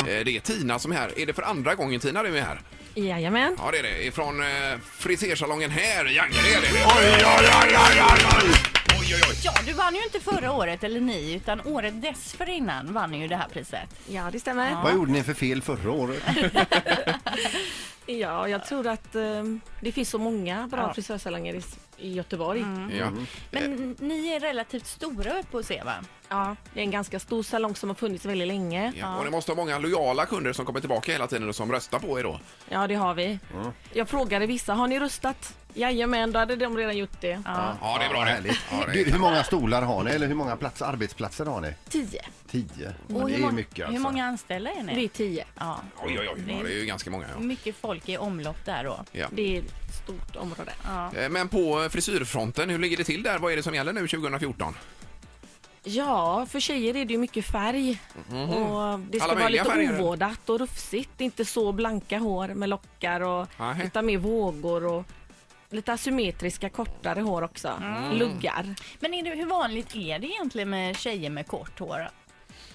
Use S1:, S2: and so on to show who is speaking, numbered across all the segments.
S1: Eh, Det är Tina som är här. Är det för andra gången Tina du är här?
S2: Jajamän.
S1: Ja, det är det. Ifrån eh, frisersalongen här i Angered är det. Oj, oj, oj, oj, oj, oj, oj, oj.
S3: Ja, du vann ju inte förra året, eller ni, utan året dessförinnan vann ni ju det här priset.
S2: Ja, det stämmer. Ja,
S4: Vad gjorde ni för fel förra året?
S2: jag tror att eh, det finns så många bra
S3: Ja.
S2: frisörsalonger i, s- i Göteborg.
S1: Ja. Eh.
S3: Men ni är relativt stora uppe hos er, va?
S2: Ja, det är en ganska stor salong som har funnits väldigt länge.
S1: Ja, och ni måste ha många lojala kunder som kommer tillbaka hela tiden och som röstar på er då.
S2: Ja, det har vi. Jag frågade vissa, har ni röstat? Jajamän, då hade de redan gjort det.
S1: Ja, det är bra det.
S4: Härligt.
S1: Ja, det
S4: Du,
S1: är...
S4: hur många stolar har ni? Eller hur många plats, arbetsplatser har ni?
S2: Tio.
S4: Tio.
S3: Och
S4: det
S3: hur
S4: är
S3: mång-
S4: mycket alltså.
S3: Hur många anställda är
S2: Det är
S3: ni?
S2: tio.
S3: Ja,
S1: Oj, oj, oj. Ja, det är ju ganska många. Ja.
S3: mycket folk i omlopp där då.
S2: Det är ett stort område.
S1: Eh, Men på frisyrfronten, hur ligger det till där? Vad är det som gäller nu 2014?
S2: Ja, för tjejer är det ju mycket färg. Och det ska
S1: Mhm. Alla
S2: vara
S1: möjliga
S2: lite
S1: färger.
S2: ovårdat och rufsigt. Inte så blanka hår med lockar och
S1: Nej.
S2: utan mer vågor och lite asymmetriska kortare hår också. Luggar.
S3: Men är det, hur vanligt är det egentligen med tjejer med kort hår?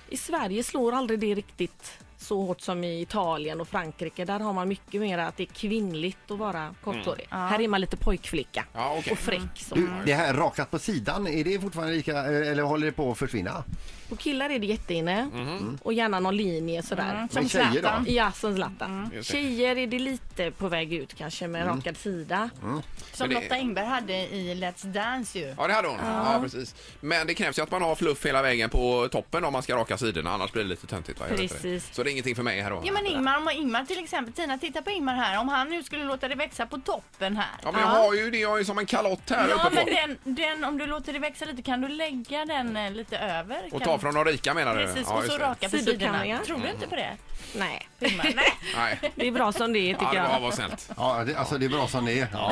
S2: I Sverige slår aldrig det riktigt så hårt som i Italien och Frankrike. Där har man mycket mer att det är kvinnligt att vara korthårig. Här är man lite pojkflicka
S1: Mm. Ja, okej. Mm.
S2: och fräck. Som
S4: Du, det här rakat på sidan, är det fortfarande lika, eh, eller håller det på att försvinna?
S2: På killar är det jätteinne
S1: Mm-hmm.
S2: och gärna någon linje sådär.
S1: Mm.
S3: Som
S4: tjejer då?
S3: Zlatan.
S2: Ja, som Zlatan.
S1: Just det.
S2: Tjejer är det lite på väg ut kanske med
S1: Mm.
S2: rakad sida.
S3: Som
S1: Men det-
S3: Lotta Engberg hade i Let's Dance ju.
S1: Ja, det hade hon. Ja, precis. Men det krävs ju att man har fluff hela vägen på toppen om man ska raka sidorna, annars blir det lite töntigt. Va? Jag vet inte.
S2: Precis.
S1: Så det är ingenting för mig här då.
S3: Ja men Ingmar, om Ingmar till exempel, Tina titta på Ingmar här, om han nu skulle låta det växa på toppen här.
S1: Ja, men jag har ju det. Jag är ju som en kalott här
S3: Ja,
S1: uppe
S3: men
S1: på.
S3: den, den, om du låter det växa lite kan du lägga den eh, lite över?
S1: Och
S3: kan
S1: ta från de rika menar du?
S3: Precis,
S1: Ja,
S3: och
S1: just
S3: så
S1: det.
S3: raka på
S2: Sidokanna,
S3: sidorna.
S2: ja.
S3: Tror du inte på det?
S2: Nej,
S3: Ingmar? Nej.
S1: Nej.
S2: det är bra som det är
S1: Ja,
S2: tycker
S1: det var,
S2: jag.
S1: var snällt.
S4: Ja, det, alltså det är bra som det är. Ja.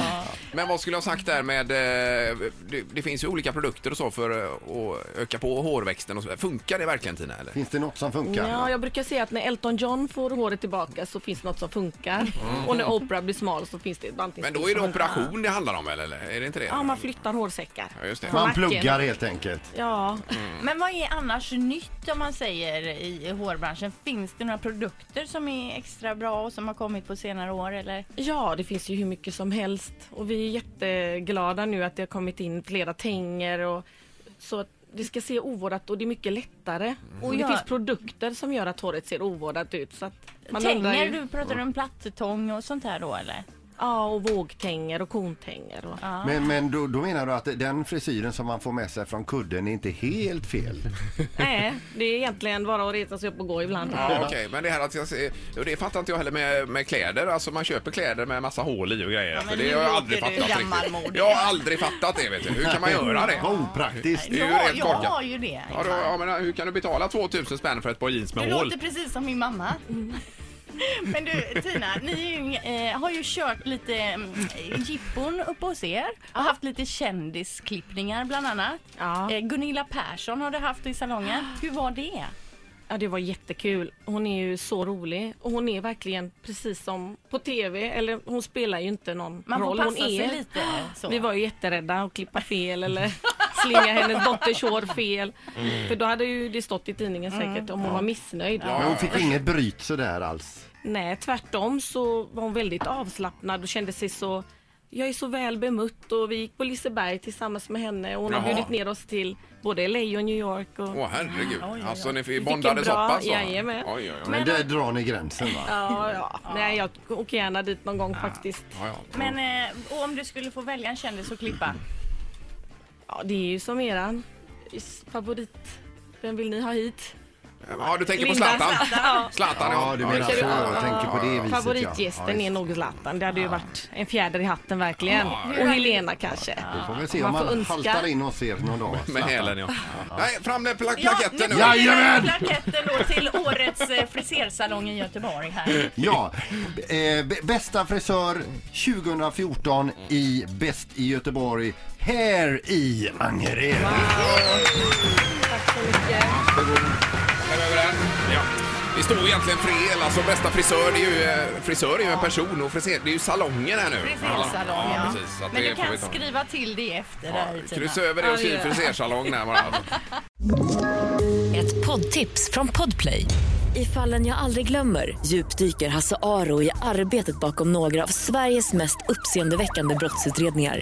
S1: Men vad skulle jag ha sagt där med... eh, Det, det finns ju olika produkter och så för eh, att öka på hårväxten och så. Funkar det verkligen Tina? Eller?
S4: Finns det något som funkar?
S2: Ja, jag brukar säga att när Elton John får håret tillbaka så finns det något som funkar. Och när Oprah blir smal så finns det ett bantningsstil
S1: Mm. Men då är det
S2: som funkar.
S1: operation det handlar om eller? eller? Är det inte det?
S2: Ja, man flyttar hårsäckar.
S1: Ja, just det.
S2: från
S4: Man
S2: nacken.
S4: pluggar helt enkelt.
S2: Ja,
S3: Men vad är annars nytt om man säger i hårbranschen? Finns det några produkter som är extra bra och som har kommit på senare år eller?
S2: Ja, det finns ju hur mycket som helst. Och vi är jätteglada nu att det har kommit in flera tänger och så att det ska se ovårdat och det är mycket lättare. Och det
S3: jag-
S2: finns produkter som gör att håret ser ovårdat ut. Så att man undrar
S3: Tänger,
S2: ju-
S3: du pratar om plattång och sånt här då eller?
S2: Ja, och vågtänger och kontänger. Och...
S4: Men, men då, då menar du att den frisyren som man får med sig från kudden är inte helt fel?
S2: Nej, det är egentligen bara att resa sig upp och gå ibland.
S1: Ja, okej, men det här att jag ser, och det fattar inte jag heller med, med kläder. Alltså man köper kläder med massa hål i och grejer. alltså,
S3: men
S1: det
S3: nu
S1: har jag
S3: låter
S1: aldrig
S3: du
S1: fattat riktigt.
S3: gammalmodig.
S1: Jag har aldrig fattat det vet du. Hur kan man göra det?
S4: Vad opraktiskt.
S1: Det är ju
S3: Ja,
S1: rent
S3: jag
S1: korkat.
S3: har ju det.
S1: Ja, då, ja, men hur kan du betala 2000 spänn för ett par jeans
S3: Du
S1: med hål?
S3: låter precis som min mamma. Men du Tina, ni är ju, eh, har ju kört lite mm, jippon uppe hos er och haft lite kändisklippningar bland annat.
S2: Ja.
S3: Eh, Gunilla Persson har du haft i salongen. Hur var det?
S2: Ja, det var jättekul. Hon är ju så rolig och hon är verkligen precis som på tv. Eller hon spelar ju inte någon
S3: Man får
S2: roll.
S3: passa
S2: hon är...
S3: sig lite. Så.
S2: Vi var ju jätterädda att klippa fel eller slinga hennes dotters hår fel.
S1: Mm.
S2: För då hade ju det stått i tidningen säkert om hon var missnöjd.
S4: Men hon fick inget bryt sådär alls.
S2: Nej, tvärtom så var hon väldigt avslappnad och kände sig så jag är så väl bemött och vi gick på Liseberg tillsammans med henne och hon har
S1: Jaha.
S2: bjudigt ner oss till både LA och New York. Och...
S1: Åh herregud. Alltså ni
S2: Vilken
S1: bondade så
S2: bra-
S1: pass? va?
S2: jajamän.
S1: Oj, oj, oj.
S4: Men där drar ni gränsen va?
S2: Ja, ja. Nej, jag åker gärna dit någon gång faktiskt.
S1: Ja, ja.
S3: Men eh, och om du skulle få välja en kändis att klippa?
S2: Ja, det är ju som eran favorit. Vem vill ni ha hit?
S1: Ja, du tänker på
S2: Linda
S1: Zlatan?
S2: Zlatan,
S1: Zlatan,
S4: Ja, du menar
S1: Okej,
S4: så. Jag
S1: ja.
S4: tänker på det viset. ja.
S2: Favoritgästen
S4: Ja,
S2: är nog Zlatan. Det hade ju varit en fjäder i hatten verkligen. Och Helena kanske.
S4: Vi får väl se om
S2: Man får
S4: man
S2: önska.
S4: haltar in och ser någon dag.
S1: Med hälen, ja. Nej, fram med pla-
S3: Ja,
S1: plaketten
S3: nu
S1: nu.
S3: tar vi den
S4: Jajamän!
S3: plaketten då till årets eh, frisersalong i Göteborg här.
S4: Ja, eh, b- bästa frisör 2014 i Bäst i Göteborg här i Angered.
S1: Över den. Ja. Det står egentligen fel, alltså bästa frisör, det är ju, eh, frisör är ju en person och friser, det är ju salongen här nu.
S3: Frisersalong,
S1: ja.
S3: ja.
S1: precis. Så att
S3: Men
S1: det
S3: du
S1: får vi
S3: kan
S1: ta.
S3: skriva till det efter typ. där i
S1: Kryss
S3: tidningen.
S1: över det och skriv frisersalong där bara.
S5: Ett poddtips från Podplay. I fallen jag aldrig glömmer djupdyker Hasse Aro i arbetet bakom några av Sveriges mest uppseendeväckande brottsutredningar.